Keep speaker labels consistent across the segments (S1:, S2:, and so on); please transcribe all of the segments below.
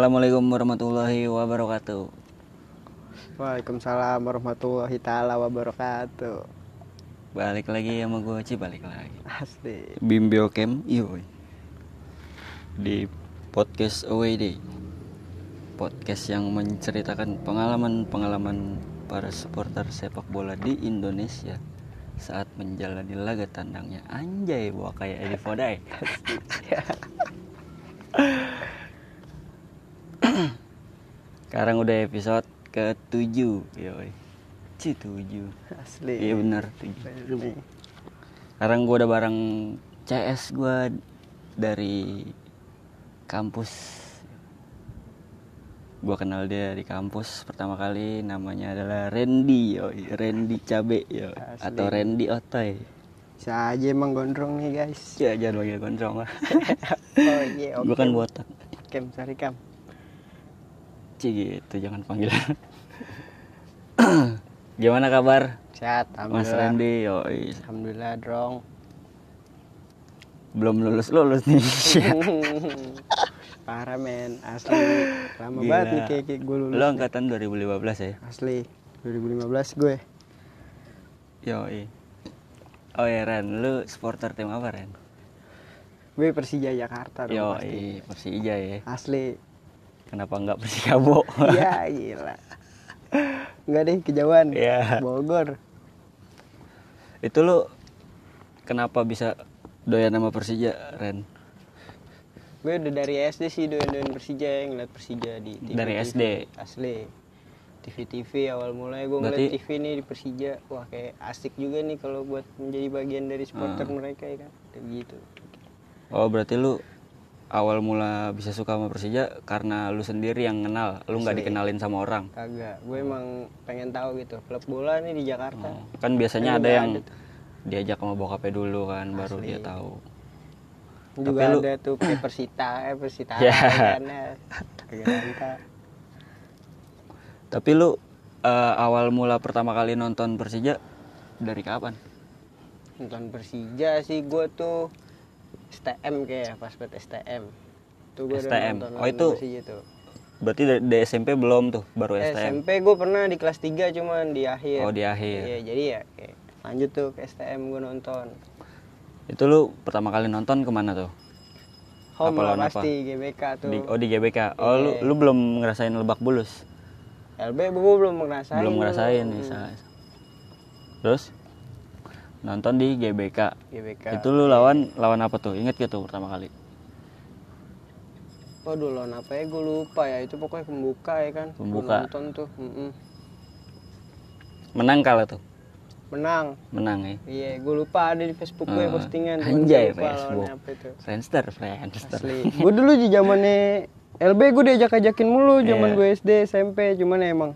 S1: Assalamualaikum warahmatullahi wabarakatuh.
S2: Waalaikumsalam warahmatullahi taala wabarakatuh.
S1: Balik lagi sama gue Ci, balik lagi.
S2: Asli.
S1: Bimbio Cam, iyo. iya, Di podcast OWD. Podcast yang menceritakan pengalaman-pengalaman para supporter sepak bola di Indonesia saat menjalani laga tandangnya. Anjay, bawa kayak Edi Fodai. Sekarang udah episode ke-7, yoi. Ci 7.
S2: Asli.
S1: Iya benar, 7.
S2: Ini.
S1: Sekarang gue udah bareng CS gue dari kampus. Gue kenal dia di kampus pertama kali namanya adalah Randy, yoi. Randy Cabe, yoi.
S2: Asli.
S1: atau Randy Otoy.
S2: Bisa aja emang gondrong nih guys.
S1: Ya, jangan panggil gondrong lah.
S2: Oh iya.
S1: gue kan botak.
S2: Kem sorry kam.
S1: Ci gitu, jangan panggil. Gimana kabar?
S2: Sehat.
S1: Mas
S2: Alhamdulillah.
S1: Randy, yoi.
S2: Alhamdulillah drong.
S1: Belum lulus-lulus nih.
S2: Parah men. Asli. Lama
S1: Gila.
S2: banget nih kayak, kayak gue lulus.
S1: Lo angkatan 2015 ya?
S2: Asli. 2015 gue.
S1: Yoi. Oh ya Ren, lu supporter tim apa Ren?
S2: Gue Persija Jakarta dong pasti.
S1: Yoi, Persija ya.
S2: Asli.
S1: Kenapa nggak Persikabo?
S2: Ya gila. Enggak deh kejauhan.
S1: Iya.
S2: Bogor.
S1: Itu lu kenapa bisa doyan sama Persija Ren?
S2: gue udah dari SD sih doyan-doyan Persija ngeliat Persija di TV
S1: Dari SD?
S2: asli TV TV awal mulai gue ngeliat
S1: Berarti-
S2: TV nih di Persija wah kayak asik juga nih kalau buat menjadi bagian dari supporter
S1: Hmm.
S2: mereka ya kan Kayak gitu
S1: Oh berarti lu awal mula bisa suka sama Persija karena lu sendiri yang kenal, lu nggak dikenalin sama orang.
S2: kagak gue
S1: Hmm.
S2: emang pengen tahu gitu klub bola nih di Jakarta
S1: Kan biasanya
S2: Ini
S1: ada
S2: Iya. nggak
S1: yang
S2: ada tuh.
S1: diajak sama bokapnya dulu kan, baru dia tahu.
S2: juga
S1: Tapi lu-
S2: ada tuh kayak Persita eh Persita
S1: Ya.
S2: kan ya. Kagak nyangka.
S1: Tapi lu eh, awal mula pertama kali nonton Persija dari kapan?
S2: nonton Persija sih gue tuh STM kayak pas buat STM tuh gue
S1: STM.
S2: nonton
S1: Oh, itu
S2: Persija tuh
S1: Berarti dari dari SMP belum tuh, baru STM.
S2: SMP gue pernah di kelas 3 cuman di akhir.
S1: Oh, di akhir.
S2: Iya, jadi ya kayak lanjut tuh ke STM gue nonton.
S1: Itu lu pertama kali nonton kemana tuh?
S2: Home
S1: Apa
S2: lah
S1: lawan apa?
S2: pasti GBK tuh. Iya.
S1: Di, oh di GBK. Oh lu, lu belum ngerasain lebak bulus?
S2: LB gue belum ngerasain.
S1: belum
S2: dulu.
S1: ngerasain ya, sa- Terus nonton di GBK.
S2: GBK.
S1: Itu lu lawan lawan apa tuh? Ingat gitu pertama kali.
S2: Waduh lawan apa ya gue lupa ya itu pokoknya pembuka ya kan. Gua
S1: Pembuka.
S2: nonton tuh. mm-mm.
S1: Menang kalah tuh.
S2: Menang.
S1: Menang ya.
S2: Iya, gue lupa ada di Facebook gue
S1: Hmm.
S2: postingan. Cuman
S1: Anjay,
S2: gua lupa lawannya
S1: Facebook.
S2: Apa itu.
S1: Friendster, Friendster.
S2: Asli. gue dulu di zamannya LB gue diajak-ajakin mulu zaman
S1: Iya.
S2: gue SD, SMP, cuman ya emang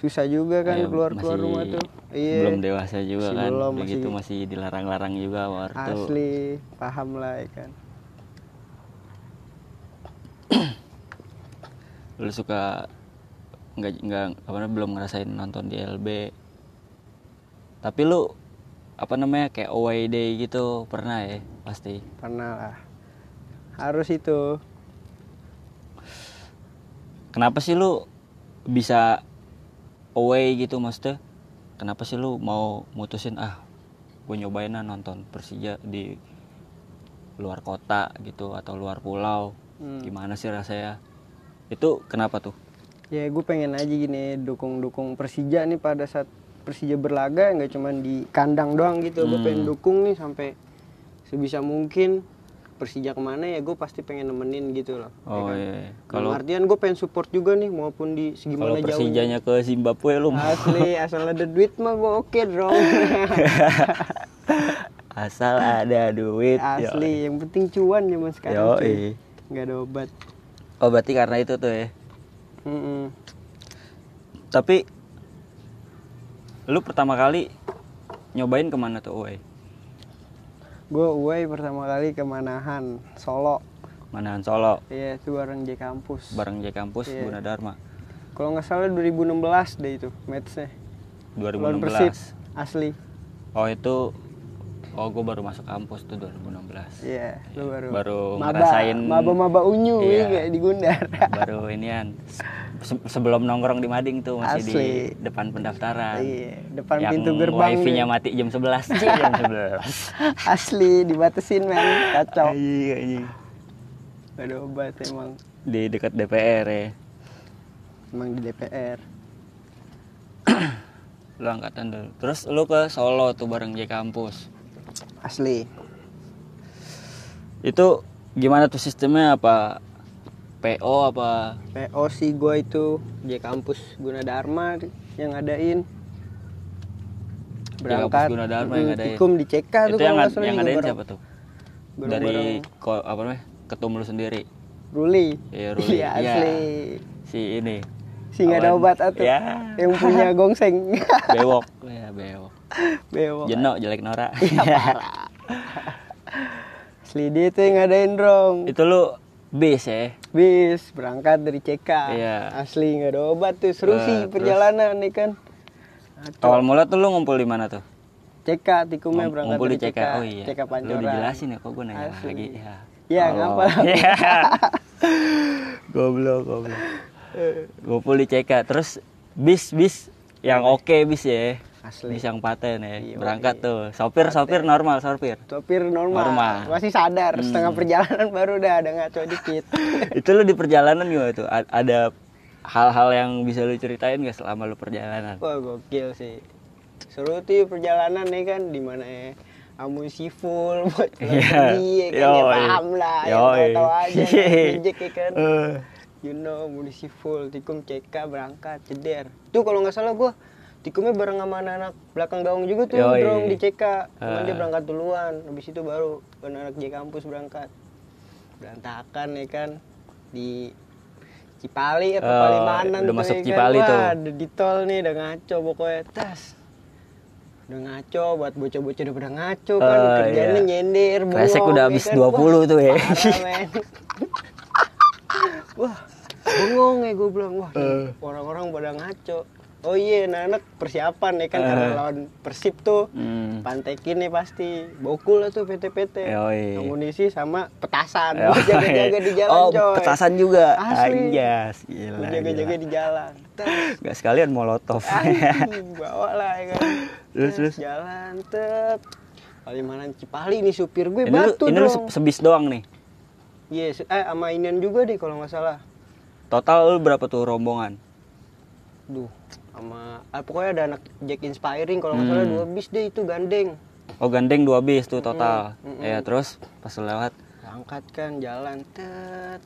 S2: susah juga kan
S1: Iya,
S2: keluar-keluar
S1: masih
S2: rumah tuh. Iya.
S1: Belum dewasa juga
S2: Masih
S1: kan.
S2: belum,
S1: Udah
S2: masih-
S1: gitu masih dilarang-larang juga waktu itu.
S2: Asli, paham lah ya kan.
S1: Lu suka nggak nggak apa namanya belum ngerasain nonton di LB. Tapi lu apa namanya kayak away day gitu pernah ya pasti.
S2: Pernah lah. Harus itu.
S1: kenapa sih lu bisa away gitu maksudnya kenapa sih lu mau mutusin ah gue nyobain lah nonton Persija di luar kota gitu atau luar pulau
S2: Hmm.
S1: gimana sih rasanya itu kenapa tuh
S2: Ya gue pengen aja gini dukung-dukung Persija nih pada saat Persija berlaga nggak cuman di kandang doang gitu. Gue pengen
S1: Hmm.
S2: dukung nih sampai sebisa mungkin Persija kemana ya gue pasti pengen nemenin gitu loh. ya
S1: oh
S2: kan?
S1: iya kalau
S2: Kalau artian gue pengen support juga nih maupun di
S1: kalau
S2: segimana jauhnya.
S1: Persijanya ke Zimbabwe lu mau
S2: Asli asal ada duit mah gue oke dong.
S1: asal ada duit yo.
S2: Asli yang penting cuan zaman
S1: iya.
S2: sekarang.
S1: Yoi.
S2: cuy. Nggak ada obat.
S1: oh berarti karena itu tuh ya
S2: Mm-mm.
S1: tapi lu pertama kali nyobain kemana tuh away
S2: Gue away pertama kali ke Manahan, Solo.
S1: Manahan Solo
S2: Iya, itu bareng J kampus.
S1: bareng J kampus
S2: Iya.
S1: Gunadarma
S2: Kalau nggak salah 2016 deh itu matchnya. Lawan Persib
S1: 2016.
S2: asli.
S1: Oh itu Oh, gue baru masuk kampus tuh 2016.
S2: Iya, lu baru.
S1: Baru
S2: maba,
S1: ngerasain-
S2: maba-maba unyu
S1: Iya.
S2: ya nggak, di Gundar.
S1: Baru inian se- sebelum nongkrong di Mading tuh masih di
S2: Asli.
S1: depan pendaftaran.
S2: Iya, depan
S1: Kan Yang
S2: pintu gerbang.
S1: Wifi-nya
S2: nih.
S1: mati jam 11. Cih, jam 11.
S2: Asli dibatesin men, kacau.
S1: Iya, iya.
S2: Gak ada obat emang.
S1: Di dekat DPR ya.
S2: Emang di DPR.
S1: Lu angkatan dulu. Terus lu ke Solo tuh bareng J kampus.
S2: Asli.
S1: Itu gimana tuh sistemnya apa PO apa
S2: PO sih gue itu di kampus Gunadarma yang ngadain berangkat
S1: Gunadarma yang
S2: Mm,
S1: ngadain.
S2: Tikum di CK tuh
S1: itu yang,
S2: nggak
S1: ngad-
S2: salah
S1: yang
S2: juga
S1: ngadain
S2: bareng-
S1: siapa tuh?
S2: bareng-bareng
S1: Dari ko- apa namanya? Ketum lu sendiri.
S2: Ruli
S1: Iya, Ruli.
S2: Iya,
S1: Iya.
S2: asli
S1: Si ini.
S2: si nggak ada
S1: Awan.
S2: obat atau
S1: Ya.
S2: yang punya gongseng
S1: Bewok. ya, bewok.
S2: bewok
S1: Jeno jelek Nora.
S2: Iya. asli dia itu yang ngadain dong
S1: itu lu bis ya.
S2: bis berangkat dari CK
S1: Iya.
S2: asli nggak ada obat tuh seru
S1: Eh,
S2: sih
S1: terus?
S2: perjalanan nih kan Kacau.
S1: Awal mula tuh lu ngumpul di mana tuh?
S2: CK tikumnya
S1: Ngum-
S2: berangkat
S1: ngumpul di
S2: dari
S1: CK.
S2: CK
S1: Oh iya.
S2: CK
S1: Lu
S2: Pancoran
S1: dijelasin ya kok gue nanya
S2: Asli.
S1: lagi. Ya.
S2: Iya,
S1: Tolong.
S2: ngapa lah.
S1: Iya. goblok, goblok.
S2: Eh.
S1: Ngumpul di CK terus bis bis yang oke bis ya.
S2: asli
S1: Bis yang paten ya.
S2: Iya,
S1: Berangkat
S2: iya.
S1: tuh. Sopir sopir normal sopir.
S2: sopir normal.
S1: Normal.
S2: masih sadar
S1: Hmm.
S2: setengah perjalanan baru udah ada ngaco dikit
S1: itu lu di perjalanan gimana tuh? A- ada hal-hal yang bisa lu ceritain gak selama lu perjalanan?
S2: wah gokil sih seru tuh perjalanan nih kan di mana ya amunisi full buat
S1: Iya.
S2: lagi ya kan ya
S1: Yoi.
S2: paham lah yang
S1: Yoi.
S2: tahu aja
S1: Hehehe.
S2: ngejek ya kan
S1: Eh,
S2: you know amunisi full tikum CK berangkat ceder tuh kalau nggak salah gua tikumnya bareng sama anak-anak belakang gaung juga tuh
S1: Yoi.
S2: drong di CK cuman
S1: Ah.
S2: dia berangkat duluan habis itu baru anak-anak J kampus berangkat berantakan ya kan di Cipali apa
S1: Oh,
S2: Palimanan
S1: udah
S2: tuh,
S1: masuk
S2: ya kan.
S1: Cipali tuh.
S2: Wah, ada di tol nih udah ngaco pokoknya tas udah ngaco buat bocah-bocah udah pada ngaco kan
S1: Oh,
S2: kerjanya
S1: iya.
S2: nyender
S1: Kresek
S2: bengong,
S1: udah
S2: ya
S1: habis
S2: kan.
S1: 20 tuh ya.
S2: Wah, parah, men. Wah, bengong ya gue bilang. Wah,
S1: Eh.
S2: nih, orang-orang pada ngaco. Oh iya, anak-anak persiapan ya kan karena lawan Persib tuh.
S1: Eh. hmm.
S2: Pantekin nih pasti. Bokul lah tuh PT-PT.
S1: Yoi.
S2: Amunisi sama petasan.
S1: Oh,
S2: Gua Jaga-jaga di jalan,
S1: oh,
S2: coy.
S1: petasan juga.
S2: Asli.
S1: Anjas,
S2: Gua
S1: gila.
S2: Jaga-jaga
S1: gila.
S2: di jalan. Tes.
S1: Nggak sekalian molotov.
S2: Anjing, bawa lah ya kan.
S1: Terus, terus.
S2: jalan tet. Palimanan Cipali nih supir gue
S1: ini lu,
S2: batu
S1: ini lu
S2: dong.
S1: se- sebis doang nih.
S2: Yes, eh sama Inian juga deh kalau nggak salah.
S1: Total lu berapa tuh rombongan?
S2: Duh, sama ah, pokoknya ada anak Jack Inspiring kalau nggak salah
S1: Hmm.
S2: dua bis deh itu gandeng.
S1: Oh, gandeng dua bis tuh total.
S2: Mm-mm,
S1: Ya, terus pas lu lewat
S2: Angkat kan jalan tet.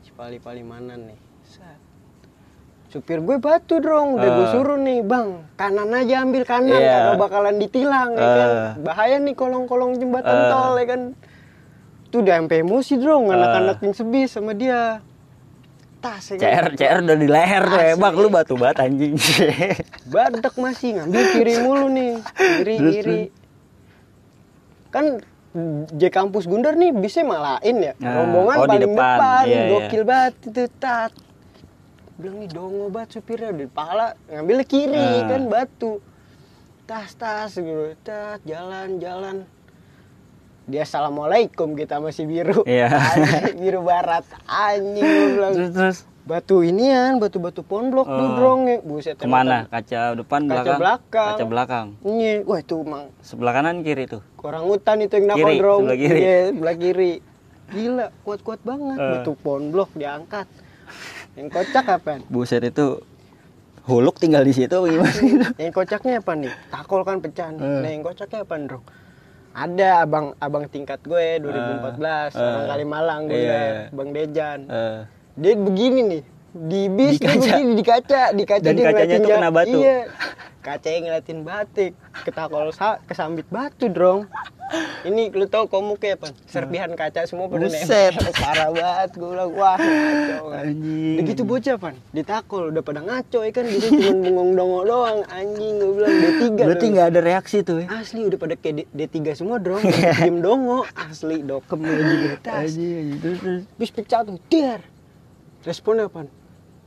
S2: Cipali Palimanan nih. Set. Supir gue batu dong, udah gue
S1: Eh.
S2: suruh nih, bang kanan aja ambil kanan,
S1: Iya.
S2: kalau bakalan ditilang, ya kan?
S1: Eh.
S2: bahaya nih kolong-kolong jembatan
S1: Eh.
S2: tol, ya kan? Tuh udah sampai emosi dong,
S1: Eh.
S2: anak-anak yang sebis sama dia. Tas, ya
S1: CR
S2: kan?
S1: CR udah di leher tuh ya,
S2: Asli.
S1: Bang. Lu batu banget anjing.
S2: Badak masih ngambil kiri mulu nih, kiri
S1: Terus,
S2: kiri. Kan J kampus Gundar nih bisa malahin ya.
S1: Nah,
S2: Rombongan
S1: oh, di
S2: paling
S1: depan.
S2: depan,
S1: Iya, iya.
S2: gokil banget itu tat. Bilang nih dongo banget supirnya dari pahala ngambilnya kiri
S1: Nah.
S2: kan batu. Tas tas gitu, tat jalan jalan. Dia assalamualaikum kita masih biru.
S1: Iya.
S2: Anjing, biru barat anjing gua bilang.
S1: terus terus
S2: Batu inian, batu-batu ponblok tuh
S1: Oh.
S2: drong ya. Buset
S1: kemana? Kaca depan,
S2: Kaca
S1: belakang.
S2: belakang.
S1: Kaca belakang.
S2: Iya, wah itu emang
S1: Sebelah kanan kiri tuh.
S2: orang hutan itu yang nakal
S1: Kiri,
S2: drong.
S1: sebelah kiri.
S2: Iya, sebelah kiri. Gila, kuat-kuat banget.
S1: Eh.
S2: Batu pohon blok diangkat. Yang kocak apa?
S1: Buset itu huluk tinggal di situ apa gimana gitu.
S2: yang kocaknya apa nih? Takol kan pecah. nih.
S1: Eh.
S2: Nah, yang kocaknya apa, Drong? Ada abang abang tingkat gue 2014
S1: Eh.
S2: orang Kalimalang gue
S1: Iya.
S2: Bang Dejan.
S1: Eh,
S2: Dia begini nih. Di bis
S1: Di
S2: dia
S1: kaca.
S2: begini di kaca, di kaca
S1: Dan
S2: dia
S1: kacanya
S2: ngeliatin
S1: tuh
S2: ja-
S1: kena batu.
S2: Iya. Kacanya ngeliatin batik, ketakol sa- kesambit batu, Drong. Ini lu tau komuk ya, Pan? Serpihan kaca semua pada
S1: Buset.
S2: nempel. Parah banget gue bilang, wah, kacau.
S1: Anjing.
S2: Udah gitu bocah, Pan. Ditakol udah pada ngaco ya kan, gitu cuma bengong dongo doang anjing gue bilang D3.
S1: Berarti
S2: dong.
S1: nggak ada reaksi tuh ya.
S2: Asli udah pada kayak D- D3 semua, Drong. Diem dongo, asli dokem aja di atas.
S1: Anjing, anjing. Terus, terus.
S2: Bis pecah tuh, der. Responnya apa?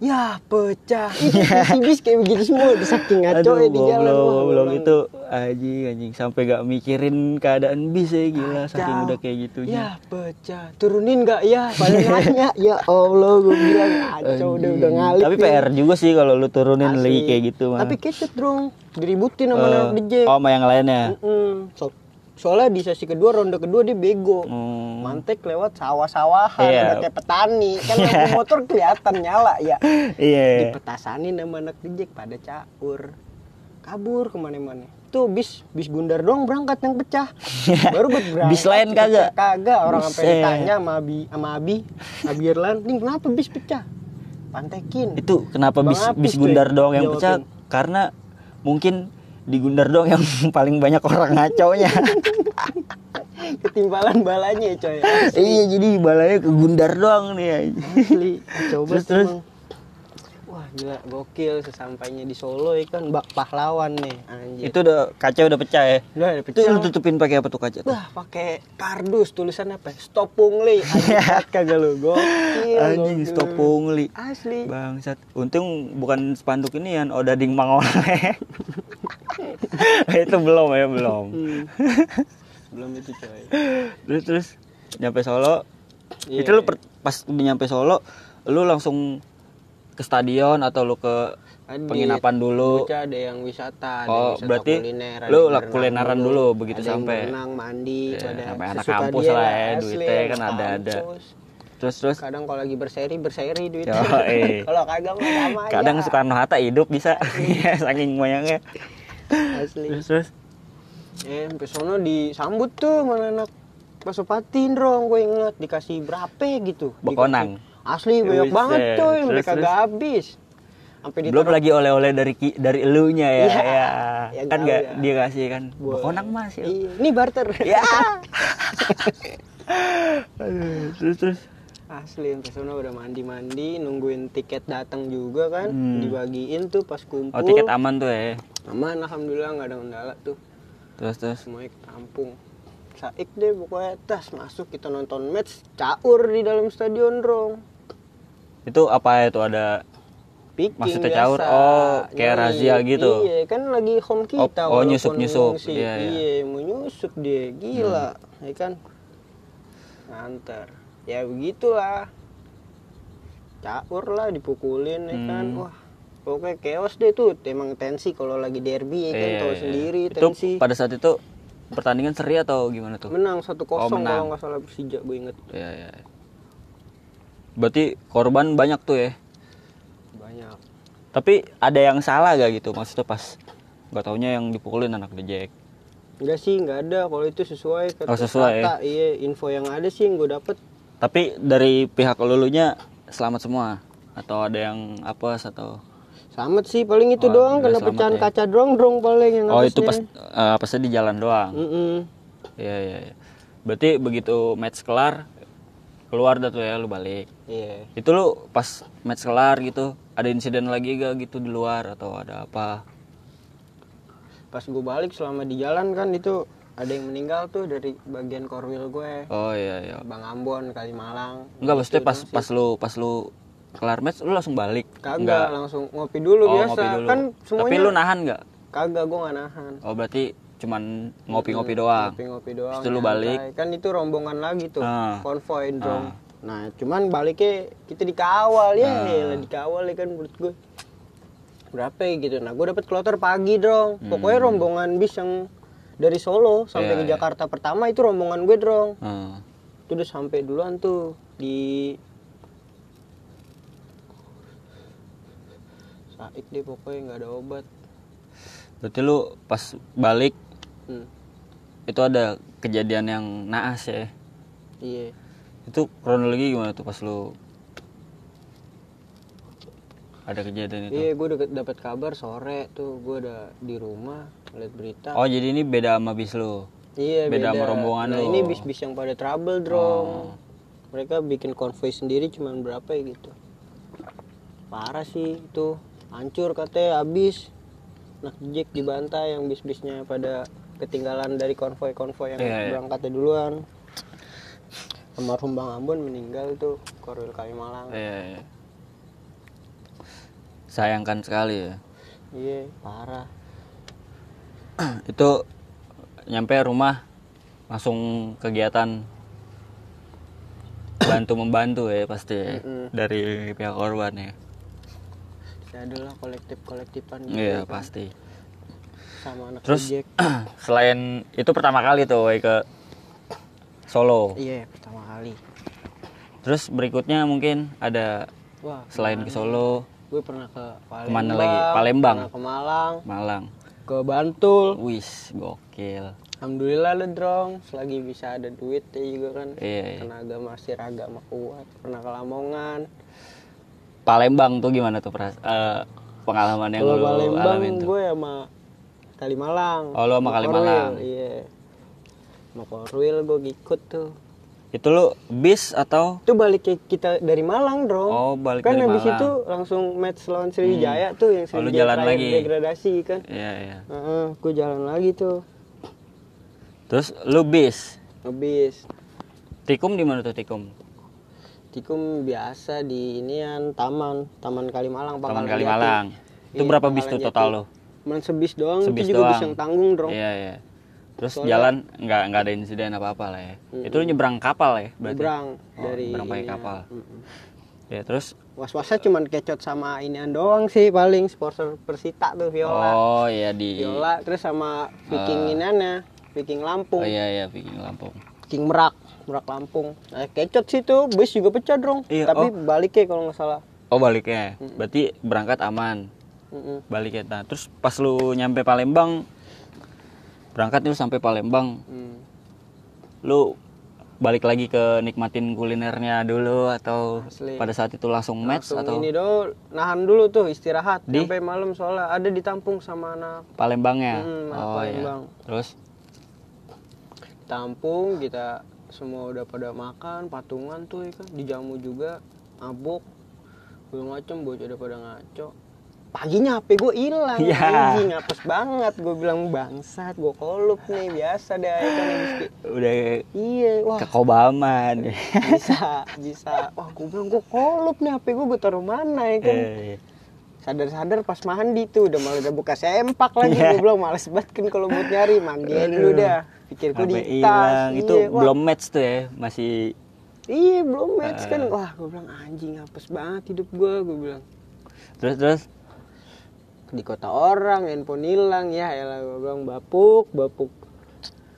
S2: ya pecah itu bis kayak begitu semua di saking ngaco ya di jalan
S1: goblok,
S2: Wah,
S1: goblok
S2: orang-
S1: itu anjing anjing sampai gak mikirin keadaan bis ya gila saking
S2: Kacau.
S1: udah kayak gitu, gitunya.
S2: Ya pecah. Turunin nggak ya? Paling nanya. ya Allah gue bilang kacau Ya, udah udah
S1: Anjing.
S2: ngalir.
S1: Tapi PR juga sih kalau lu turunin lagi kayak gitu mah.
S2: Tapi kecut dong. Diributin sama
S1: Eh,
S2: anak DJ.
S1: Oh, sama yang lainnya.
S2: Mm-mm. So- soalnya di sesi kedua ronde kedua dia bego.
S1: Hmm.
S2: Mantek lewat sawah-sawahan
S1: Iya.
S2: udah kayak petani. Kan lampu motor kelihatan nyala ya.
S1: Iya.
S2: Dipetasanin sama anak DJ pada caur. Kabur kemana-mana. Tuh bis bis bundar dong berangkat yang pecah. Baru buat berangkat.
S1: Bis lain kagak?
S2: Kagak orang sampai
S1: Buset.
S2: ditanya sama Abi sama Abi, Abi Irlan, "Ning, kenapa bis pecah?" Pantekin.
S1: Itu kenapa
S2: Bang
S1: bis
S2: Apis
S1: bis
S2: tuh
S1: Gundar
S2: yang
S1: doang yang
S2: jawabin.
S1: pecah? Karena mungkin di Gundar doang yang paling banyak orang ngaconya.
S2: Ketimbalan balanya ya, coy.
S1: iya, jadi balanya ke Gundar doang nih. anjing.
S2: Asli. Coba
S1: Terus, terus.
S2: Wah, gila gokil sesampainya di Solo ya kan bak pahlawan nih anjir.
S1: Itu udah kaca udah pecah ya.
S2: Udah ada
S1: Itu
S2: Iya. pecah.
S1: lu tutupin pakai apa tuh kaca tuh?
S2: Wah, pakai kardus tulisannya apa? ya? Stop pungli. Anjir,
S1: Iya,
S2: banget kagak lu gokil.
S1: Anjing
S2: gokil.
S1: stop pungli.
S2: Asli.
S1: Bangsat. Untung bukan spanduk ini kan Odading Mangoleh. itu belum ya, belum.
S2: Hmm. Belum itu coy.
S1: Terus terus nyampe Solo.
S2: Iya.
S1: Itu lu per- pas udah nyampe Solo, lu langsung ke stadion atau lu ke
S2: Kan di
S1: penginapan dulu?
S2: Bocah ada yang wisata, ada
S1: Oh,
S2: yang wisata
S1: berarti
S2: kuliner,
S1: lu
S2: ada yang
S1: lah
S2: berenang
S1: kulineran dulu begitu
S2: ada yang
S1: sampai.
S2: berenang, mandi,
S1: Iya,
S2: ada
S1: namanya anak
S2: sesuka
S1: kampus
S2: dia
S1: lah ya,
S2: asli,
S1: duitnya
S2: anak
S1: kan ada-ada.
S2: kampus.
S1: Terus terus
S2: Kadang kalau lagi berseri berseri duitnya.
S1: Yoi.
S2: kalau kagak mah sama aja.
S1: kadang Soekarno Hatta hidup bisa
S2: Iya.
S1: saking moyangnya.
S2: asli.
S1: Terus terus
S2: Eh, sampai sono disambut tuh mana anak Pasopati Ndrong gue inget dikasih berapa gitu. Dikasih-
S1: Bekonang.
S2: Asli banyak
S1: Buset.
S2: banget coy, sampai
S1: Terus,
S2: kagak
S1: terus.
S2: habis. Sampai
S1: belum lagi oleh-oleh dari ki- dari elunya ya.
S2: Iya,
S1: ya.
S2: yang
S1: Kan
S2: tahu
S1: nggak
S2: ya.
S1: dia kasih kan.
S2: Buat-
S1: Bekonang Mas ya.
S2: Iya, ini barter.
S1: Ya. Aduh, terus terus
S2: Asli sampai sono udah mandi-mandi, nungguin tiket datang juga kan,
S1: Hmm.
S2: dibagiin tuh pas kumpul.
S1: Oh tiket aman tuh ya.
S2: Aman alhamdulillah nggak ada kendala tuh.
S1: Terus terus.
S2: Semuanya ke kampung. Saik deh pokoknya tas masuk kita nonton match caur di dalam stadion Rong.
S1: Itu apa ya tuh ada
S2: Picking
S1: Maksudnya
S2: biasa.
S1: caur? Oh, kayak razia gitu.
S2: Iya, kan lagi home
S1: Oh,
S2: kita.
S1: oh,
S2: walaupun
S1: nyusup-nyusup.
S2: ngungsi.
S1: Iya, iya. Hmm.
S2: Iya, mau nyusup dia, gila. Ya kan? Nganter. Ya begitulah. Caur lah dipukulin ya
S1: Hmm.
S2: kan. Wah, pokoknya chaos deh tuh. Emang tensi kalau lagi derby ya kan
S1: Iya,
S2: tahu
S1: iya.
S2: sendiri
S1: Itu
S2: tensi.
S1: pada saat itu pertandingan seri atau gimana tuh?
S2: Menang 1-0
S1: Oh, menang.
S2: kalau nggak salah Persija gue inget.
S1: Iya, iya. Berarti korban banyak tuh ya.
S2: Banyak.
S1: Tapi ada yang salah gak gitu? Maksudnya pas nggak taunya yang dipukulin anak dejek.
S2: Enggak sih, enggak ada. Kalau itu sesuai kata
S1: Oh, sesuai,
S2: kata, Iya, info yang ada sih yang gue dapet
S1: Tapi dari pihak lulunya selamat semua atau ada yang apa atau
S2: Selamat sih paling itu
S1: Oh,
S2: doang
S1: udah
S2: kena
S1: selamat
S2: pecahan
S1: ya.
S2: kaca drong drong paling yang
S1: Oh itu pas
S2: habisnya.
S1: eh, pasnya di jalan doang.
S2: Mm-mm.
S1: Iya iya. iya. Berarti begitu match kelar keluar dah tuh ya lu balik.
S2: Iya.
S1: Itu lu pas match kelar gitu ada insiden lagi gak gitu di luar atau ada apa?
S2: Pas gue balik selama di jalan kan itu ada yang meninggal tuh dari bagian korwil gue.
S1: Oh iya iya.
S2: Bang Ambon, Kalimalang.
S1: Enggak
S2: Gitu
S1: maksudnya pas
S2: doang sih.
S1: pas lu pas lu kelar match lu langsung balik.
S2: kagak
S1: Nggak?
S2: langsung ngopi dulu
S1: Oh,
S2: biasa.
S1: ngopi dulu.
S2: Kan semuanya
S1: Tapi lu nahan nggak?
S2: kagak gue nggak nahan.
S1: Oh berarti cuman
S2: Iya,
S1: ngopi-ngopi doang.
S2: Ngopi-ngopi doang.
S1: Terus lu
S2: nyantai.
S1: balik.
S2: Kan itu rombongan lagi tuh,
S1: Ah.
S2: konvoy drong. Nah, cuman baliknya kita
S1: Ah.
S2: dikawal ya, elah, dikawal ya kan menurut gue. Berapa ya gitu. Nah, gue dapet kloter pagi drong. Pokoknya rombongan bis yang dari Solo sampai
S1: Hmm. Iya,
S2: ke
S1: iya.
S2: Jakarta pertama itu rombongan gue drong.
S1: Hmm.
S2: Itu udah sampai duluan tuh di Saik deh pokoknya nggak ada obat.
S1: Berarti lu pas balik
S2: Hmm,
S1: itu ada kejadian yang naas ya.
S2: iya.
S1: Itu kronologi gimana tuh pas lu ada kejadian itu?
S2: Iya, gue udah dapat kabar sore tuh gue ada di rumah lihat berita.
S1: Oh jadi ini beda sama bis lu.
S2: iya,
S1: beda sama rombongan
S2: nah,
S1: lu. Oh.
S2: ini bis-bis yang pada trouble, drong. Mereka bikin konvoy sendiri cuman berapa ya gitu. Parah sih itu. Hancur katanya habis. Nah, Jack dibantai yang bis-bisnya pada ketinggalan dari konvoy-konvoy yang
S1: Iya, iya.
S2: berangkatnya duluan. Almarhum Bang Ambon meninggal tuh Korwil Kalimalang.
S1: Iya, iya. sayangkan sekali ya
S2: Iya.
S1: parah itu nyampe rumah langsung kegiatan bantu membantu ya pasti ya,
S2: Mm-mm.
S1: dari pihak korban ya
S2: Saya adalah kolektif-kolektifan gitu
S1: iya
S2: kan,
S1: pasti
S2: sama anak
S1: Terus-
S2: reject.
S1: selain itu pertama kali tuh Wei, ke Solo
S2: Iya, pertama kali.
S1: terus berikutnya mungkin ada
S2: Wah,
S1: selain ke Solo
S2: gue pernah ke Palembang.
S1: Kemana lagi? Palembang.
S2: Pernah ke Malang,
S1: Malang
S2: ke Bantul.
S1: wis gokil
S2: Alhamdulillah lu drong, selagi bisa ada duit ya juga kan.
S1: Iya, iya.
S2: Karena agama masih agama kuat. Pernah ke Lamongan.
S1: Palembang tuh gimana tuh peras- eh, pengalaman yang
S2: Kalau
S1: lu
S2: Palembang
S1: alamin tuh
S2: gue sama Kalimalang.
S1: Oh, lu sama Kalimalang.
S2: Korwil, Iya. Sama Korwil gue ngikut tuh.
S1: itu lu bis atau
S2: Itu balik ke kita dari Malang, Drong.
S1: Oh, balik
S2: kan
S1: dari
S2: habis
S1: Malang. Hmm.
S2: itu langsung match lawan Sriwijaya tuh yang
S1: Oh, lu
S2: Sriwijaya
S1: jalan
S2: terakhir
S1: lagi.
S2: degradasi kan.
S1: Iya iya.
S2: Heeh, gue jalan lagi tuh.
S1: Terus lu bis.
S2: Habis
S1: Tikum di mana tuh Tikum?
S2: Tikum biasa di inian taman, Taman Kalimalang
S1: Taman
S2: Pangkalan
S1: Kalimalang.
S2: Jati.
S1: Itu
S2: Iya,
S1: berapa bis
S2: Pangkalan
S1: tuh
S2: Jati.
S1: total lu?
S2: Cuman sebis doang,
S1: Sebis
S2: itu juga bis
S1: doang.
S2: yang tanggung, Drong.
S1: Iya iya. Terus
S2: Soalnya-
S1: jalan nggak nggak ada insiden apa-apa lah ya. Itu lu nyebrang kapal ya berarti.
S2: Nyebrang
S1: Oh,
S2: dari
S1: nyebrang pakai
S2: inian.
S1: kapal.
S2: Mm-mm.
S1: Ya terus
S2: Was-wasnya cuman kecot sama inian doang sih paling sponsor Persita tuh Viola.
S1: Oh iya di
S2: Viola terus sama Viking iniannya, Viking
S1: Oh
S2: Lampung,
S1: iya iya Viking Lampung.
S2: Viking Merak, Merak Lampung. Nah, kecot sih tuh, bis juga pecah, Drong.
S1: Iya,
S2: Tapi baliknya kalau nggak salah.
S1: Oh baliknya. Berarti berangkat aman.
S2: Mm-mm.
S1: Baliknya. Nah, terus pas lu nyampe Palembang berangkat nih lu sampai Palembang
S2: Mm.
S1: lu balik lagi ke nikmatin kulinernya dulu atau
S2: Asli.
S1: pada saat itu langsung match
S2: Langsung
S1: atau
S2: ini dulu nahan dulu tuh istirahat
S1: Di?
S2: sampai malam soalnya ada ditampung sama anak
S1: Palembangnya?
S2: Hmm, anak
S1: oh
S2: Palembang.
S1: iya. Terus
S2: tampung kita semua udah pada makan patungan tuh ya kan dijamu juga mabuk belum macem bocah udah pada ngaco paginya HP gue hilang
S1: Ya.
S2: anjing ngapus banget gue bilang bangsat gue kolup nih biasa deh ya kan habis di-
S1: udah
S2: iya wah
S1: kekobaman.
S2: bisa bisa wah gue bilang gue kolup nih HP gue gue taruh mana ya kan
S1: Eh,
S2: sadar-sadar pas mandi tuh udah malah udah buka sempak lagi
S1: Iya.
S2: gue bilang males banget kan kalau buat nyari mandiin dulu
S1: Aduh.
S2: dah pikir gue
S1: Sampai
S2: di
S1: hilang
S2: tas
S1: itu
S2: iya, wah,
S1: belum Nah. match tuh ya masih
S2: iya belum match kan wah gue bilang anjing hapus banget hidup gue gue bilang
S1: terus terus
S2: di kota orang handphone hilang ya elah gue bilang bapuk bapuk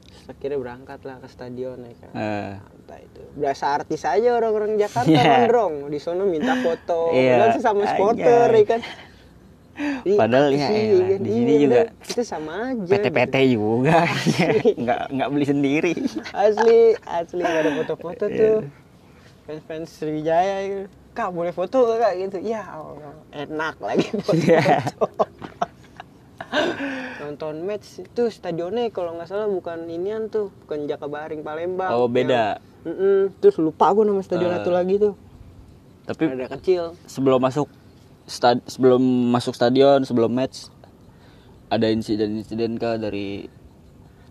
S2: Terus akhirnya berangkat lah ke stadion ya kan
S1: eh,
S2: Santai itu berasa artis aja orang-orang Jakarta
S1: Iya.
S2: gondrong di sono minta foto
S1: Iya,
S2: langsung sama supporter
S1: anjay.
S2: ya kan Iya, Ih,
S1: Padahal
S2: apa
S1: ya
S2: sih,
S1: elah,
S2: kan?
S1: di sini
S2: Iya,
S1: juga
S2: bener. kita sama aja gitu.
S1: PT-PT juga nggak nggak beli sendiri
S2: asli asli gak ada foto-foto
S1: Iya.
S2: tuh fans fans Sriwijaya gitu. kak boleh foto gak kak gitu ya Allah, enak lagi
S1: Iya.
S2: foto nonton match tuh stadionnya kalau nggak salah bukan inian tuh bukan Jakabaring Palembang
S1: oh beda
S2: Yang- Mm-mm. terus lupa gue nama stadion
S1: Eh.
S2: satu lagi tuh
S1: tapi
S2: ada kecil
S1: sebelum masuk stad sebelum masuk stadion sebelum match ada insiden-insiden kah dari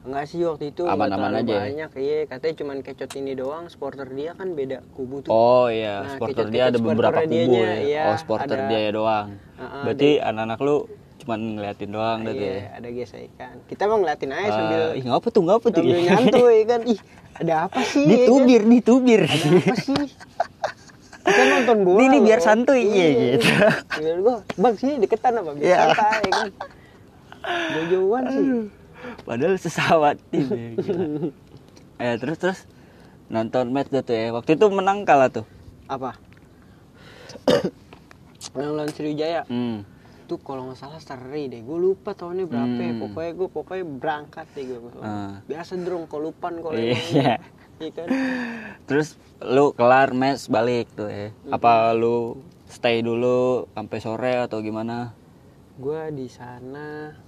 S2: Enggak sih waktu itu nggak
S1: Aman-aman
S2: terlalu
S1: aja ya?
S2: banyak iya katanya cuman kecot ini doang supporter dia kan beda kubu tuh
S1: Oh iya,
S2: Nah,
S1: supporter
S2: kecil-kecil
S1: dia ada beberapa
S2: supporternya
S1: kubu
S2: dianya,
S1: ya.
S2: iya,
S1: oh, supporter
S2: ada-
S1: dia ya doang.
S2: Heeh,
S1: Berarti anak-anak lu cuman ngeliatin doang gitu
S2: Iya,
S1: ya.
S2: ada gesekan kita mau ngeliatin aja sambil
S1: Ah, Iya. ih, ngapa tuh, ngapa tuh?
S2: sambil nyantuy kan ih ada apa sih ya kan?
S1: ditubir, ditubir.
S2: ada apa sih kita nonton bola
S1: Ini- ini biar
S2: loh.
S1: santuy, iya, gitu.
S2: biar gua bang sini deketan apa biar
S1: Iya.
S2: santai ya kan jauh-jauhan sih
S1: Padahal sesawat tim. ya, gila. eh, terus terus nonton match dah tuh ya. Waktu itu menang kalah tuh.
S2: apa yang lawan Sriwijaya
S1: Hmm.
S2: tuh kalau nggak salah seri deh gue lupa tahunnya berapa ya.
S1: Hmm.
S2: pokoknya gue pokoknya berangkat deh gue
S1: Ah.
S2: biasa drong kolupan kalau
S1: Iya.
S2: emang. Iya kan
S1: Terus lu kelar match balik tuh ya. Apa lu stay dulu sampai sore atau gimana?
S2: gue di sana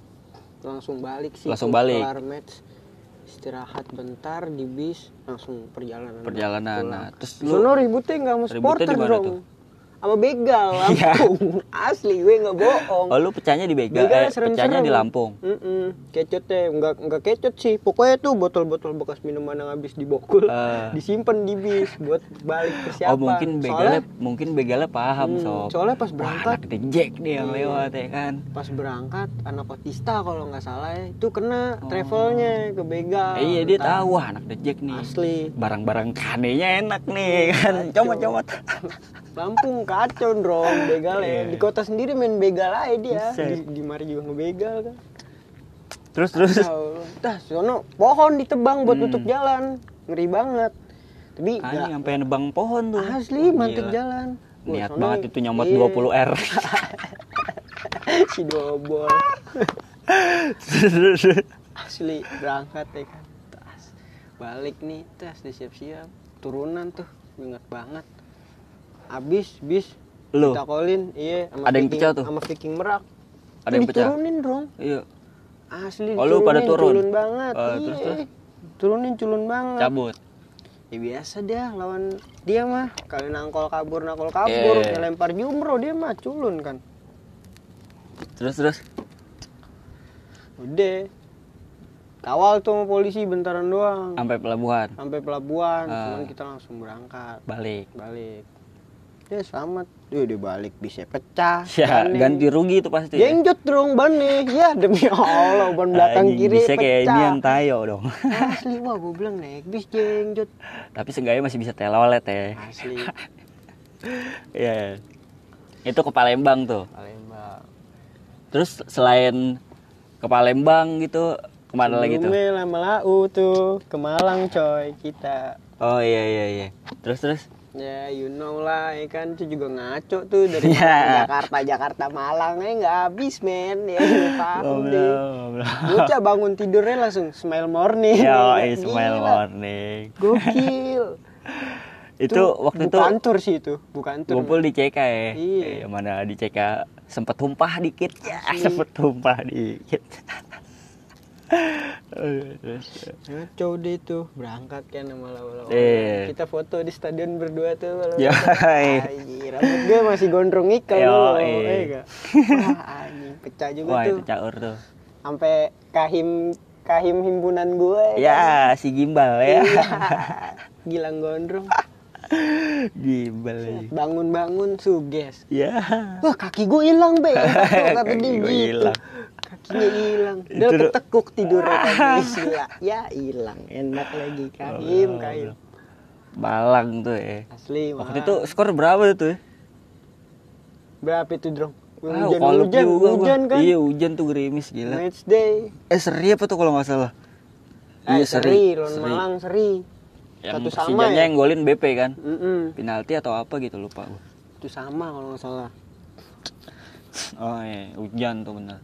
S2: langsung balik sih
S1: Langsung
S2: gua
S1: balik.
S2: kelar match istirahat bentar di bis langsung perjalanan
S1: Perjalanan. Nah,
S2: pulang.
S1: terus
S2: Di
S1: lu
S2: sono ributnya nggak sama
S1: Ributnya
S2: supporter
S1: di mana
S2: dong
S1: tuh? Iya.
S2: sama begal Lampung asli gue nggak bohong
S1: Oh lu pecahnya di Bega, eh,
S2: Begal
S1: pecahnya
S2: serem-serem.
S1: di Lampung.
S2: Mm-mm. Kecotnya nggak nggak kecot sih. Pokoknya tuh botol-botol bekas minuman yang habis dibokul
S1: Eh.
S2: disimpan di bis buat balik ke
S1: Oh
S2: siapa.
S1: mungkin begalnya
S2: soalnya,
S1: mungkin begalnya paham
S2: Hmm,
S1: sob.
S2: soalnya pas
S1: Wah,
S2: berangkat- Iya.
S1: anak dejek dia yang lewat ya kan.
S2: pas berangkat anak otista kalau nggak salah ya, itu kena travelnya ke begal.
S1: Oh. Eh, iya dia
S2: Entah.
S1: tahu wah anak dejek nih.
S2: Asli.
S1: Barang-barang kanenya enak
S2: Iya,
S1: nih kan.
S2: Kacau.
S1: Comot-comot.
S2: Lampung kacau dong begal ya. Di kota sendiri main begal aja dia.
S1: Iya, Buset.
S2: Di, di mari juga ngebegal kan.
S1: Terus terus.
S2: Tahu. Dah sono pohon ditebang buat
S1: Hmm.
S2: nutup jalan. Ngeri banget. Tapi nggak-
S1: Anjing sampai nebang pohon tuh. Wah,
S2: Asli mantik
S1: gila.
S2: jalan. Wah,
S1: Niat
S2: sono
S1: banget itu nyambat
S2: iya.
S1: 20 R.
S2: si dobol. Asli berangkat ya kan. Tas. Balik nih, tas disiap-siap. Turunan tuh ingat banget. Abis bis
S1: Lu?
S2: kita kolin, iya sama
S1: Ada yang
S2: Viking-
S1: pecah tuh?
S2: Sama Viking Merak.
S1: Ada yang pecah?
S2: Diturunin dong.
S1: Iya.
S2: Asli
S1: Oh, lu pada
S2: diturunin,
S1: turun?
S2: culun banget.
S1: Eh,
S2: iya.
S1: terus, terus?
S2: Turunin culun banget.
S1: Cabut.
S2: Ya biasa dia lawan dia mah kali nangkol kabur nangkol kabur
S1: Iya.
S2: lempar jumro dia mah culun kan.
S1: Terus terus.
S2: Udah. Kawal tuh sama polisi bentaran doang.
S1: Sampai pelabuhan.
S2: Sampai pelabuhan,
S1: Ah.
S2: cuman kita langsung berangkat.
S1: Balik.
S2: Balik. Ya selamat. Duh, dia balik bisa pecah.
S1: Ya,
S2: bannya.
S1: ganti rugi itu pasti. ya.
S2: Jenggot dong bannya. Ya demi Allah, ban belakang
S1: Anjing,
S2: kiri
S1: bisa
S2: pecah.
S1: kayak ini yang tayo dong.
S2: Asli wah gue bilang naik bis jenggot.
S1: Tapi seenggaknya masih bisa telolet ya.
S2: Asli.
S1: Iya. Itu ke Palembang tuh.
S2: Palembang.
S1: Terus selain ke Palembang gitu, kemana lagi tuh?
S2: Sebelumnya lama lau tuh ke Malang coy kita.
S1: Oh iya iya iya. Terus terus.
S2: Ya you know lah ya kan itu juga ngaco tuh dari
S1: Ya.
S2: Jakarta Jakarta Malang ya nggak habis men ya lu
S1: Oh,
S2: paham deh.
S1: Goblok, goblok.
S2: Bocah bangun tidurnya langsung smile morning.
S1: Yo,
S2: Gila.
S1: Ismail Morning.
S2: Gokil.
S1: Itu waktu itu
S2: bukantur sih itu, bukantur.
S1: kumpul di CK ya. Eh,
S2: Iya.
S1: mana di CK sempet tumpah dikit ya,
S2: Asli.
S1: sempet tumpah dikit. Terus,
S2: Ngaco deh tuh berangkat kan sama lawa-lawa.
S1: Iya.
S2: Kita foto di stadion berdua tuh. lawa-lawa.
S1: Yoi.
S2: Anjir, rambut gue masih gondrong ikal
S1: Yoi.
S2: loh. Eh enggak. Wah, anjing pecah juga
S1: Wah
S2: tuh.
S1: itu caur tuh.
S2: Sampai kahim kahim himpunan gue.
S1: Ya si gimbal ya.
S2: Iya. Gilang gondrong.
S1: gimbal lagi.
S2: Bangun-bangun suges.
S1: Ya.
S2: Wah kaki gue hilang be, kata
S1: Kaki
S2: dia
S1: gua
S2: gitu.
S1: hilang.
S2: Kakinya hilang.
S1: Itu
S2: Dia
S1: lu-
S2: ketekuk tidurnya kan gila. Ya hilang, enak lagi
S1: Goblok,
S2: kahim kahim.
S1: goblok. Malang tuh ya.
S2: Asli wah.
S1: Waktu itu skor berapa tuh?
S2: berapa itu drong?
S1: Ah,
S2: Hujan
S1: kolab
S2: hujan
S1: juga gua.
S2: hujan kan?
S1: Iya hujan tuh gerimis gila.
S2: Match day.
S1: Eh seri apa tuh kalau nggak salah?
S2: Eh, seri, lawan
S1: Iya, seri.
S2: Malang seri.
S1: Yang
S2: Satu sama
S1: Persijanya
S2: ya?
S1: yang golin BP kan?
S2: Mm-mm.
S1: Penalti atau apa gitu lupa gua.
S2: Itu sama kalau nggak salah.
S1: Oh iya, hujan tuh bener.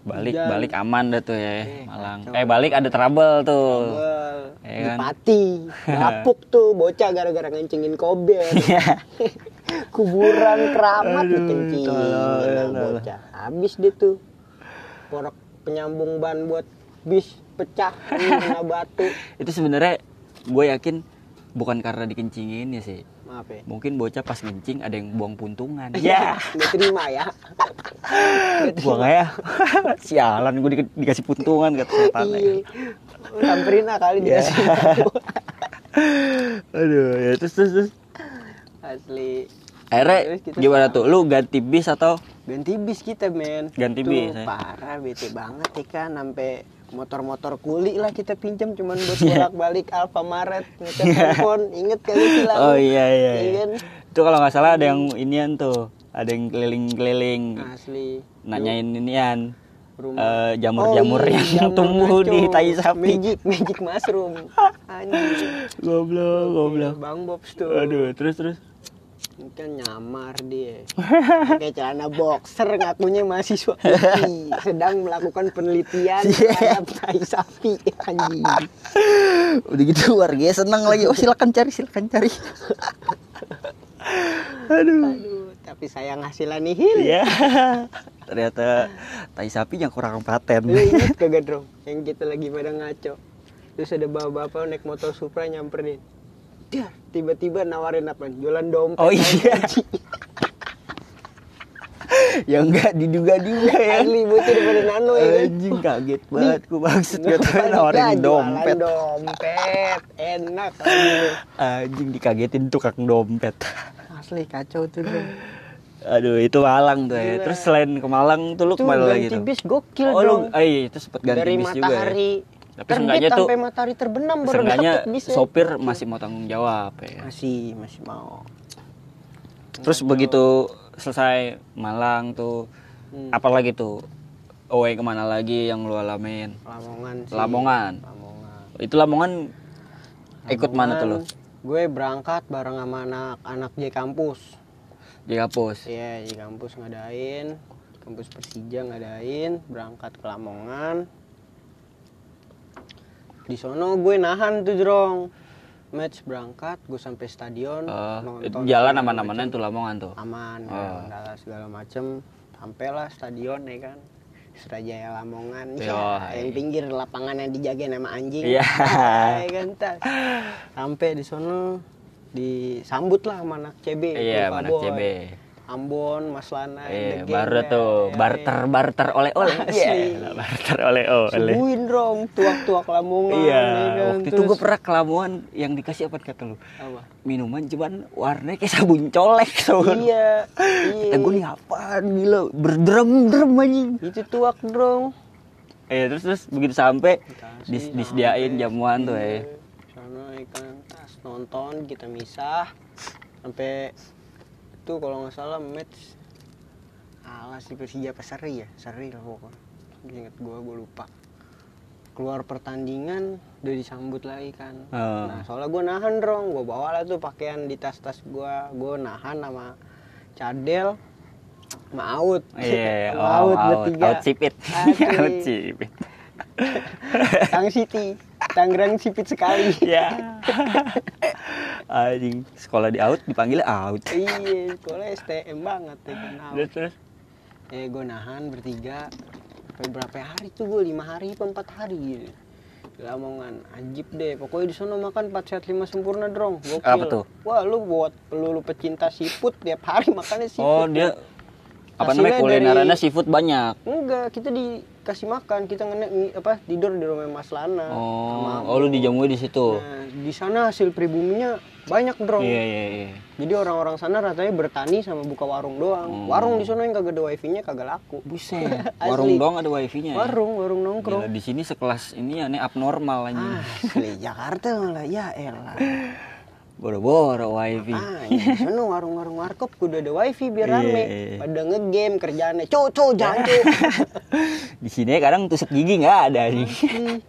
S1: Balik
S2: Hujan.
S1: balik aman dah tuh ya
S2: Eh,
S1: Malang.
S2: kacau.
S1: Eh balik ada trouble tuh.
S2: Well,
S1: Iya
S2: di
S1: kan?
S2: Pati, lapuk tuh bocah gara-gara ngencingin kober. Kuburan keramat
S1: Iya. Aduh,
S2: dikencingin
S1: tolol,
S2: lah
S1: tolol.
S2: bocah. Habis dia tuh korek penyambung ban buat bis pecah kena batu.
S1: Itu sebenarnya gue yakin bukan karena dikencingin ya sih.
S2: Maaf ya.
S1: Mungkin bocah pas kencing ada yang buang puntungan. Ya,
S2: Nggak terima ya.
S1: buang aja. Sialan gue dikasih puntungan kata setan ya.
S2: Iya. Samperin lah kali dikasih
S1: Iya.
S2: tahu.
S1: Aduh, ya terus terus. terus.
S2: Asli.
S1: Akhirnya
S2: Terus kita
S1: gimana tuh? Lu ganti bis atau
S2: Ganti bis kita men
S1: Ganti
S2: Tuh,
S1: bis, ya.
S2: Parah bete banget ya kan Sampai motor-motor kuli lah kita pinjam Cuman buat bolak-balik Alfamaret Ngecat handphone Inget kali sih lah
S1: Oh iya iya.
S2: Iya
S1: iya.
S2: kan?
S1: Itu kalau nggak salah ada yang inian tuh, ada yang keliling-keliling
S2: Asli
S1: nanyain inian eh,
S2: Rumah.
S1: jamur-jamur
S2: Oh, iya,
S1: yang
S2: jamur
S1: tumbuh
S2: ngaco.
S1: di tai sapi.
S2: Magic, magic mushroom Anjir
S1: Goblok, goblok.
S2: Bang Bobs tuh
S1: Aduh, terus terus.
S2: Kan nyamar dia Pakai celana boxer ngakunya mahasiswa UI, Sedang melakukan penelitian Terhadap tai sapi Anjing
S1: Udah gitu warga seneng lagi. Oh, silakan cari, silakan cari. Aduh.
S2: Aduh, tapi sayang hasilnya nihil.
S1: Hmm. Iya. Ternyata tai sapi yang kurang
S2: Lu
S1: paten.
S2: inget kagak Drong? Yang kita lagi pada ngaco. Terus ada bapak-bapak naik motor Supra nyamperin. Dar, tiba-tiba nawarin apa? Jualan dompet.
S1: Oh iya.
S2: Anjing.
S1: yang nggak diduga-duga ya
S2: Asli bocah daripada Nano ya kan.
S1: anjing kaget banget ku maksud gak tau nawarin
S2: Jualan
S1: dompet
S2: dompet. Enak anjing.
S1: anjing dikagetin tukang dompet
S2: Asli kacau tuh. Dong.
S1: aduh itu Malang tuh ya
S2: Gila.
S1: terus selain ke Malang tuh lu
S2: Tuh
S1: kemana lagi
S2: ganti
S1: tuh
S2: bis gokil
S1: oh lu
S2: dong.
S1: ah, iya itu sempet ganti
S2: Dari
S1: bis juga ya
S2: matahari
S1: Tapi seenggaknya
S2: terbit
S1: tuh-
S2: sampai matahari terbenam baru
S1: seenggaknya
S2: dapet Nah, bis ya.
S1: sopir masih mau tanggung jawab ya
S2: masih masih mau.
S1: Terus begitu selesai Malang tuh
S2: Hmm.
S1: apalagi tuh away kemana lagi yang lu alamin?
S2: Lamongan sih.
S1: Lamongan.
S2: Lamongan.
S1: Itu Lamongan ikut mana tuh lu?
S2: Lamongan, Gue berangkat bareng sama anak-anak di kampus.
S1: Di Kapus.
S2: Iya, di kampus ngadain, kampus Persija ngadain, berangkat ke Lamongan. Di sono gue nahan tuh, Jrong. Match berangkat, gue sampai stadion,
S1: Eh,
S2: nonton
S1: jalan
S2: segala
S1: aman-amanan tuh Lamongan tuh.
S2: aman
S1: Oh.
S2: kendala segala macem sampailah stadion ya kan Surajaya Lamongan
S1: Yoi.
S2: ya, yang pinggir lapangan yang dijagain sama anjing
S1: Iya.
S2: ya kan tas. sampai di sono disambut lah sama anak CB
S1: Iya,
S2: Kurva
S1: anak
S2: Boy.
S1: CB.
S2: Ambon Mas Lana
S1: Iya,
S2: the gang
S1: baru
S2: ya.
S1: tuh
S2: Yoi.
S1: barter-barter oleh-oleh. Iya,
S2: Asli.
S1: barter oleh-oleh.
S2: subuhin dong tuak-tuak Lamongan
S1: Iya,
S2: ya kan?
S1: waktu itu
S2: Terus-
S1: gue pernah ke Lamongan yang dikasih apa kata lu?
S2: apa?
S1: Minuman cuman warnanya kayak sabun colek. kan? sabun.
S2: iya iya
S1: Kata gue nih apaan gila, berderem-derem anjing.
S2: itu tuak dong
S1: Iya terus terus begitu sampai
S2: Dikasih,
S1: dis disediain
S2: sampai. iya.
S1: jamuan tuh ya.
S2: sana ikan tas kan. nonton kita misah sampai itu kalau nggak salah match alas di Persija apa Seri ya Seri lah pokoknya inget gue gue lupa keluar pertandingan udah disambut lagi kan
S1: Oh.
S2: nah soalnya gue nahan dong gue bawa lah tuh pakaian di tas tas gue gue nahan sama cadel sama out
S1: Iya,
S2: Sama
S1: oh,
S2: out
S1: out,
S2: bertiga
S1: out sipit,
S2: Asli.
S1: out sipit.
S2: Tang City Tangerang sipit sekali
S1: Ya. Anjing, sekolah di out dipanggilnya out.
S2: iya sekolah STM banget ya kenal
S1: Terus terus
S2: eh gue nahan bertiga sampai berapa hari tuh gue lima hari apa empat hari gitu Di Lamongan ajib deh pokoknya di sana makan 4 sehat 5 sempurna drong gokil
S1: Apa tuh?
S2: wah lu buat lu, lu pecinta siput tiap hari makannya siput
S1: oh dia apa
S2: kan Hasilnya
S1: namanya
S2: dari-
S1: kulinerannya seafood banyak.
S2: enggak kita dikasih makan kita ngene ngi- apa tidur di rumah Mas Lana Eh, Sama
S1: Oh,
S2: Ambo.
S1: oh lu dijamuin di situ.
S2: nah, di sana hasil pribuminya banyak drong
S1: Iya iya iya.
S2: Jadi orang-orang sana ratanya bertani sama buka warung doang. Warung di sana yang kagak ada wifi-nya kagak laku.
S1: Hmm. Buset,
S2: Asli.
S1: warung doang ada wifi-nya. ya?
S2: Warung, warung nongkrong. Ah.
S1: Gila, di sini sekelas ini aneh abnormal anjing.
S2: Asli Jakarta malah ya elah.
S1: Boro-boro wifi.
S2: Ah, di sana warung-warung warkop kudu ada wifi biar
S1: Iya,
S2: rame.
S1: iya, iya.
S2: Pada ngegame kerjaannya. Cu cu jangan cu.
S1: Di sini kadang tusuk gigi nggak ada anjing.
S2: Asli.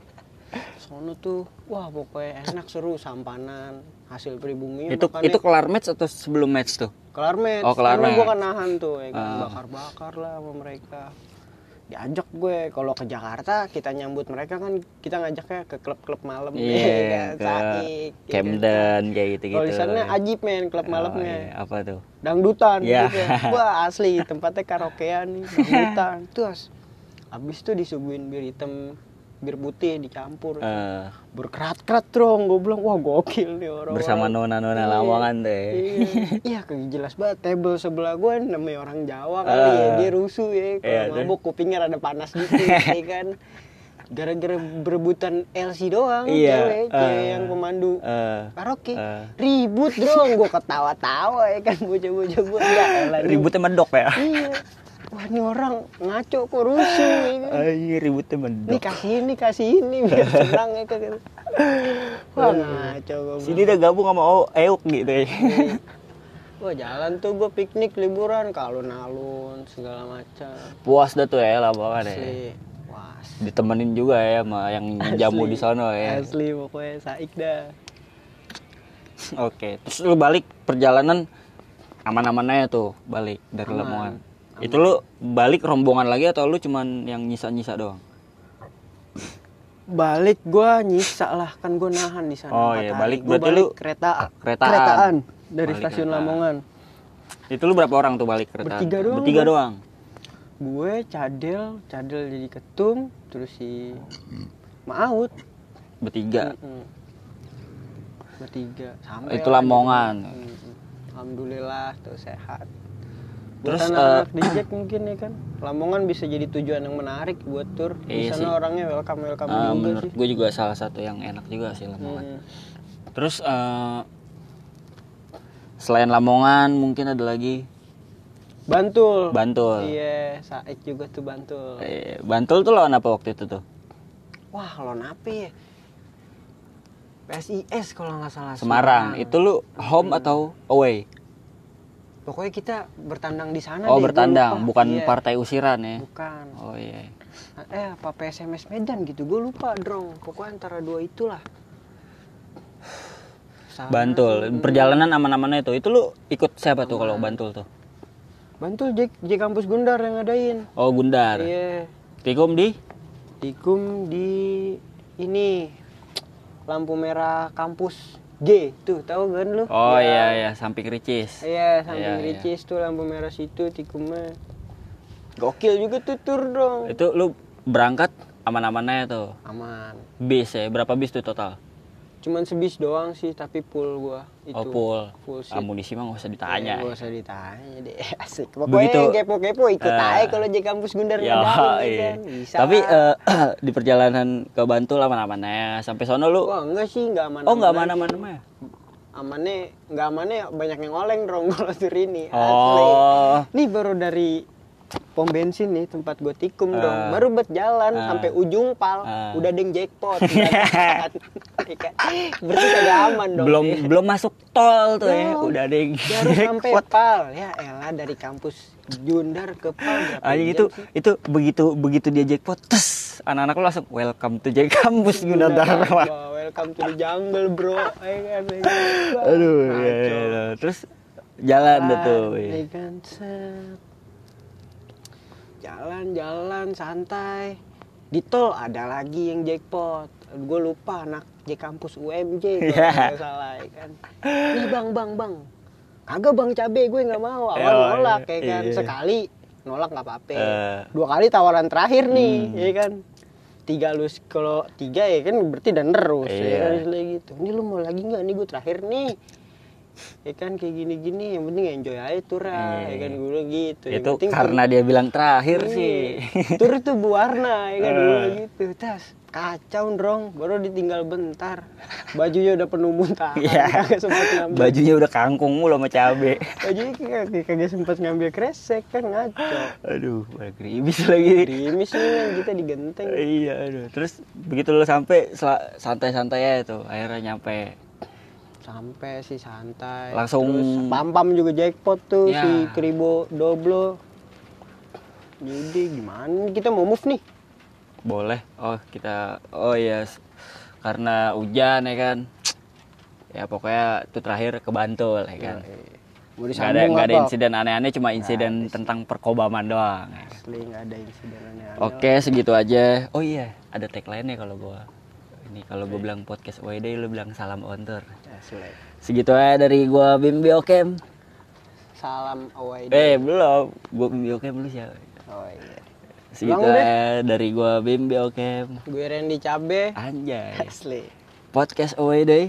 S2: Sono tuh wah pokoknya enak seru sampanan hasil pribuminya
S1: itu
S2: makannya
S1: itu kelar match atau sebelum match tuh
S2: kelar match
S1: Oh, kelar
S2: karena gue
S1: match.
S2: kan nahan tuh ya kan
S1: Ah.
S2: bakar bakar lah sama mereka diajak gue kalau ke Jakarta kita nyambut mereka kan kita ngajaknya ke klub-klub malam
S1: iya
S2: ya
S1: ke
S2: kan, Saik, ya kan.
S1: Camden kayak gitu gitu
S2: kalau di sana ajib men klub
S1: Oh,
S2: malamnya
S1: apa tuh
S2: dangdutan
S1: Ya.
S2: gitu. Wah asli tempatnya karaokean nih, dangdutan. Terus habis itu disuguhin bir hitam, bir putih dicampur.
S1: Eh,
S2: Berkerat-kerat dong, gue bilang wah gokil nih orang.
S1: bersama nona-nona Lamongan tuh ya.
S2: Iya, kayak jelas banget table sebelah gue namanya orang Jawa kali ya,
S1: Eh.
S2: dia rusuh ya. Kalau
S1: Iya,
S2: mabuk kupingnya rada panas gitu ya kan. Gara-gara berebutan LC doang,
S1: Iya,
S2: cewek, cewek
S1: eh.
S2: yang pemandu
S1: Eh,
S2: karaoke
S1: Eh.
S2: ribut dong gue ketawa-tawa ya kan bocah-bocah gue enggak elah, nih.
S1: ributnya medok ya
S2: iya wah ini orang ngaco kok rusuh ya kan.
S1: Anjing Iya, ributnya
S2: ini
S1: medok
S2: kasih ini kasih ini biar senang ya kan wah ngaco gue
S1: sini udah gabung sama O- Euk gitu ya
S2: wah jalan tuh gue piknik liburan kalau alun segala macam
S1: puas dah tuh ya Lamongan ya
S2: asli wah
S1: ditemenin juga ya sama yang jamu
S2: asli.
S1: di sana ya
S2: asli pokoknya saik dah
S1: Oke, terus lu balik perjalanan aman-aman aja tuh balik dari
S2: Aman,
S1: Lamongan. Itu lu balik rombongan lagi atau lu cuman yang nyisa-nyisa doang?
S2: balik gue nyisa lah kan gue nahan di sana
S1: Oh,
S2: empat
S1: iya,
S2: hari.
S1: balik.
S2: Gua
S1: Berarti
S2: balik
S1: lu
S2: kereta
S1: keretaan.
S2: dari
S1: Balik
S2: stasiun
S1: keretaan.
S2: Lamongan
S1: Itu lu berapa orang tuh balik kereta?
S2: Bertiga doang,
S1: Bertiga
S2: Bang.
S1: doang.
S2: gue cadel cadel jadi ketum terus si maut
S1: Bertiga.
S2: Mm-mm. bertiga sampai
S1: Iya. Itu
S2: lah
S1: Lamongan.
S2: gitu. Mm-mm. alhamdulillah tuh sehat
S1: Terus, eh,
S2: Terus anak di Jack mungkin ya kan. Lamongan bisa jadi tujuan yang menarik buat tour. Di
S1: Iya sih.
S2: sana orangnya welcome welcome
S1: Eh,
S2: juga
S1: menurut
S2: sih.
S1: gue juga salah satu yang enak juga sih Lamongan.
S2: Hmm.
S1: Terus eh, selain Lamongan mungkin ada lagi
S2: Bantul.
S1: Bantul.
S2: Iya, Said juga tuh Bantul.
S1: Eh, Bantul tuh lawan apa waktu itu tuh?
S2: Wah, lawan apa ya? PSIS kalau nggak salah.
S1: Semarang. Itu lu home atau away?
S2: Pokoknya kita bertandang Nah, di sana.
S1: Oh
S2: deh, gua
S1: bertandang,
S2: lupa.
S1: bukan
S2: Iya,
S1: partai usiran ya?
S2: Bukan.
S1: Oh iya.
S2: Eh, apa PSMS Medan gitu? Gue lupa, drong. Pokoknya antara dua itulah. Sama
S1: Bantul.
S2: tuh.
S1: Perjalanan aman-amannya itu. Itu lu ikut siapa tuh kalau Bantul tuh?
S2: Bantul J, J kampus Gundar yang ngadain.
S1: Oh Gundar.
S2: Iya.
S1: Tikum di?
S2: Dikum di ini lampu merah kampus G tuh tahu kan lu?
S1: Oh
S2: Yang-
S1: iya iya, samping ricis.
S2: Iya,
S1: Iya,
S2: samping
S1: iya.
S2: Ricis tuh lampu merah situ tikumnya. Gokil juga tuh tur dong.
S1: Itu lu berangkat aman-amannya tuh.
S2: Aman.
S1: Bis ya, berapa bis tuh total?
S2: Cuman sebis doang sih tapi full gua itu.
S1: Oh full.
S2: Full sih.
S1: Amunisi mah gak usah ditanya. Iya.
S2: Gak usah Iya, ditanya deh. Asik.
S1: Begitu.
S2: Pokoknya yang kepo-kepo ikut
S1: Eh.
S2: aja kalau di kampus Gundar
S1: Ya,
S2: ngadain, ya
S1: iya.
S2: kan? Bisa
S1: Tapi
S2: lah.
S1: eh, di perjalanan ke Bantul aman-amannya sampai sono lu
S2: Wah enggak sih, enggak aman.
S1: Oh nggak aman-aman ya?
S2: Amannya, enggak amannya banyak yang oleng dong kalau tur ini. Asli.
S1: Oh.
S2: Nih baru dari pom bensin nih tempat gue tikum dong.
S1: Ah.
S2: Baru buat jalan
S1: Ah.
S2: sampai ujung pal,
S1: Ah.
S2: udah deng jackpot. Berat. Berarti kagak aman dong.
S1: belum
S2: nih.
S1: belum masuk tol tuh ya
S2: Belum.
S1: udah ada yang
S2: Baru sampai pal. Ya elah dari kampus Jundar ke pal. berapa
S1: aja
S2: jam
S1: itu
S2: Iya sih?
S1: itu begitu begitu dia jackpot tes anak-anak lu langsung welcome to Jack
S2: Iya.
S1: Kampus Guna Dharma
S2: Wah, welcome to the jungle bro. Ayo kan, ayo kan. Wah,
S1: aduh ya,
S2: kacau.
S1: ya, ya. terus jalan deh tuh ya.
S2: Ya kan, set. Jalan, jalan, santai. Di tol ada lagi yang jackpot. Gue lupa anak J kampus UMJ kalau
S1: Iya.
S2: nggak salah ya kan. Nih bang, bang, bang. Kagak bang cabe gue nggak mau. Awal
S1: Iya,
S2: nolak
S1: iya,
S2: ya kan.
S1: iya.
S2: Sekali nolak nggak apa-apa.
S1: Eh.
S2: Dua kali tawaran terakhir nih,
S1: Hmm.
S2: ya kan. Tiga lu kalau tiga ya kan berarti dan terus
S1: Iya.
S2: ya kan istilahnya gitu. Ini lu mau lagi nggak nih gue terakhir nih ya kan kayak gini-gini yang penting enjoy aja tur ah,
S1: Iya.
S2: ya kan gue gitu Yang
S1: itu
S2: penting tur-
S1: karena dia bilang terakhir
S2: Iya.
S1: sih
S2: tur tuh berwarna ya kan
S1: Eh.
S2: dulu gitu tas kacau ndrong baru ditinggal bentar bajunya udah penuh muntah
S1: Iya.
S2: kagak sempat ngambil
S1: bajunya udah kangkung mulu sama cabe
S2: bajunya kagak, kagak sempat ngambil kresek kan ngaco
S1: aduh balik ribis lagi
S2: gerimis nih kan kita digenteng
S1: iya aduh terus begitu lu sampai sel- santai-santai ya itu akhirnya nyampe
S2: sampai sih santai
S1: Langsung-
S2: Terus pam pam juga jackpot tuh
S1: Ya.
S2: si kribo doblo jadi gimana kita mau move nih
S1: Boleh. Oh, kita oh iya s- karena hujan ya kan. Ya pokoknya itu terakhir ke Bantul ya
S2: Iya,
S1: kan. Nggak ada
S2: Mau Eh, disambung
S1: nggak ada
S2: apa? Nah,
S1: insiden aneh-aneh cuma insiden tentang perkobaman doang. ya.
S2: Asli nggak ada insiden aneh-aneh.
S1: Oke, segitu aja. Oh iya, ada tagline-nya kalau gua. Ini kalau gua bilang podcast WD lu bilang salam on tour.
S2: Asli.
S1: Segitu aja dari gua Bim Biokem.
S2: Salam away
S1: Eh, belum. Gua Bim Biokem lu siapa?
S2: Oh iya.
S1: Segitu
S2: Ulang deh.
S1: aja dari gua Bim Biokem.
S2: Gue Randy Cabe.
S1: Anjay.
S2: Asli.
S1: Podcast away day.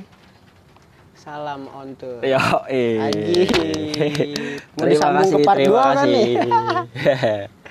S2: Salam on tour.
S1: Yo,
S2: Anjing. Mau
S1: terima
S2: disambung
S1: kasih,
S2: ke part
S1: terima
S2: dua kan
S1: kasih.
S2: nih?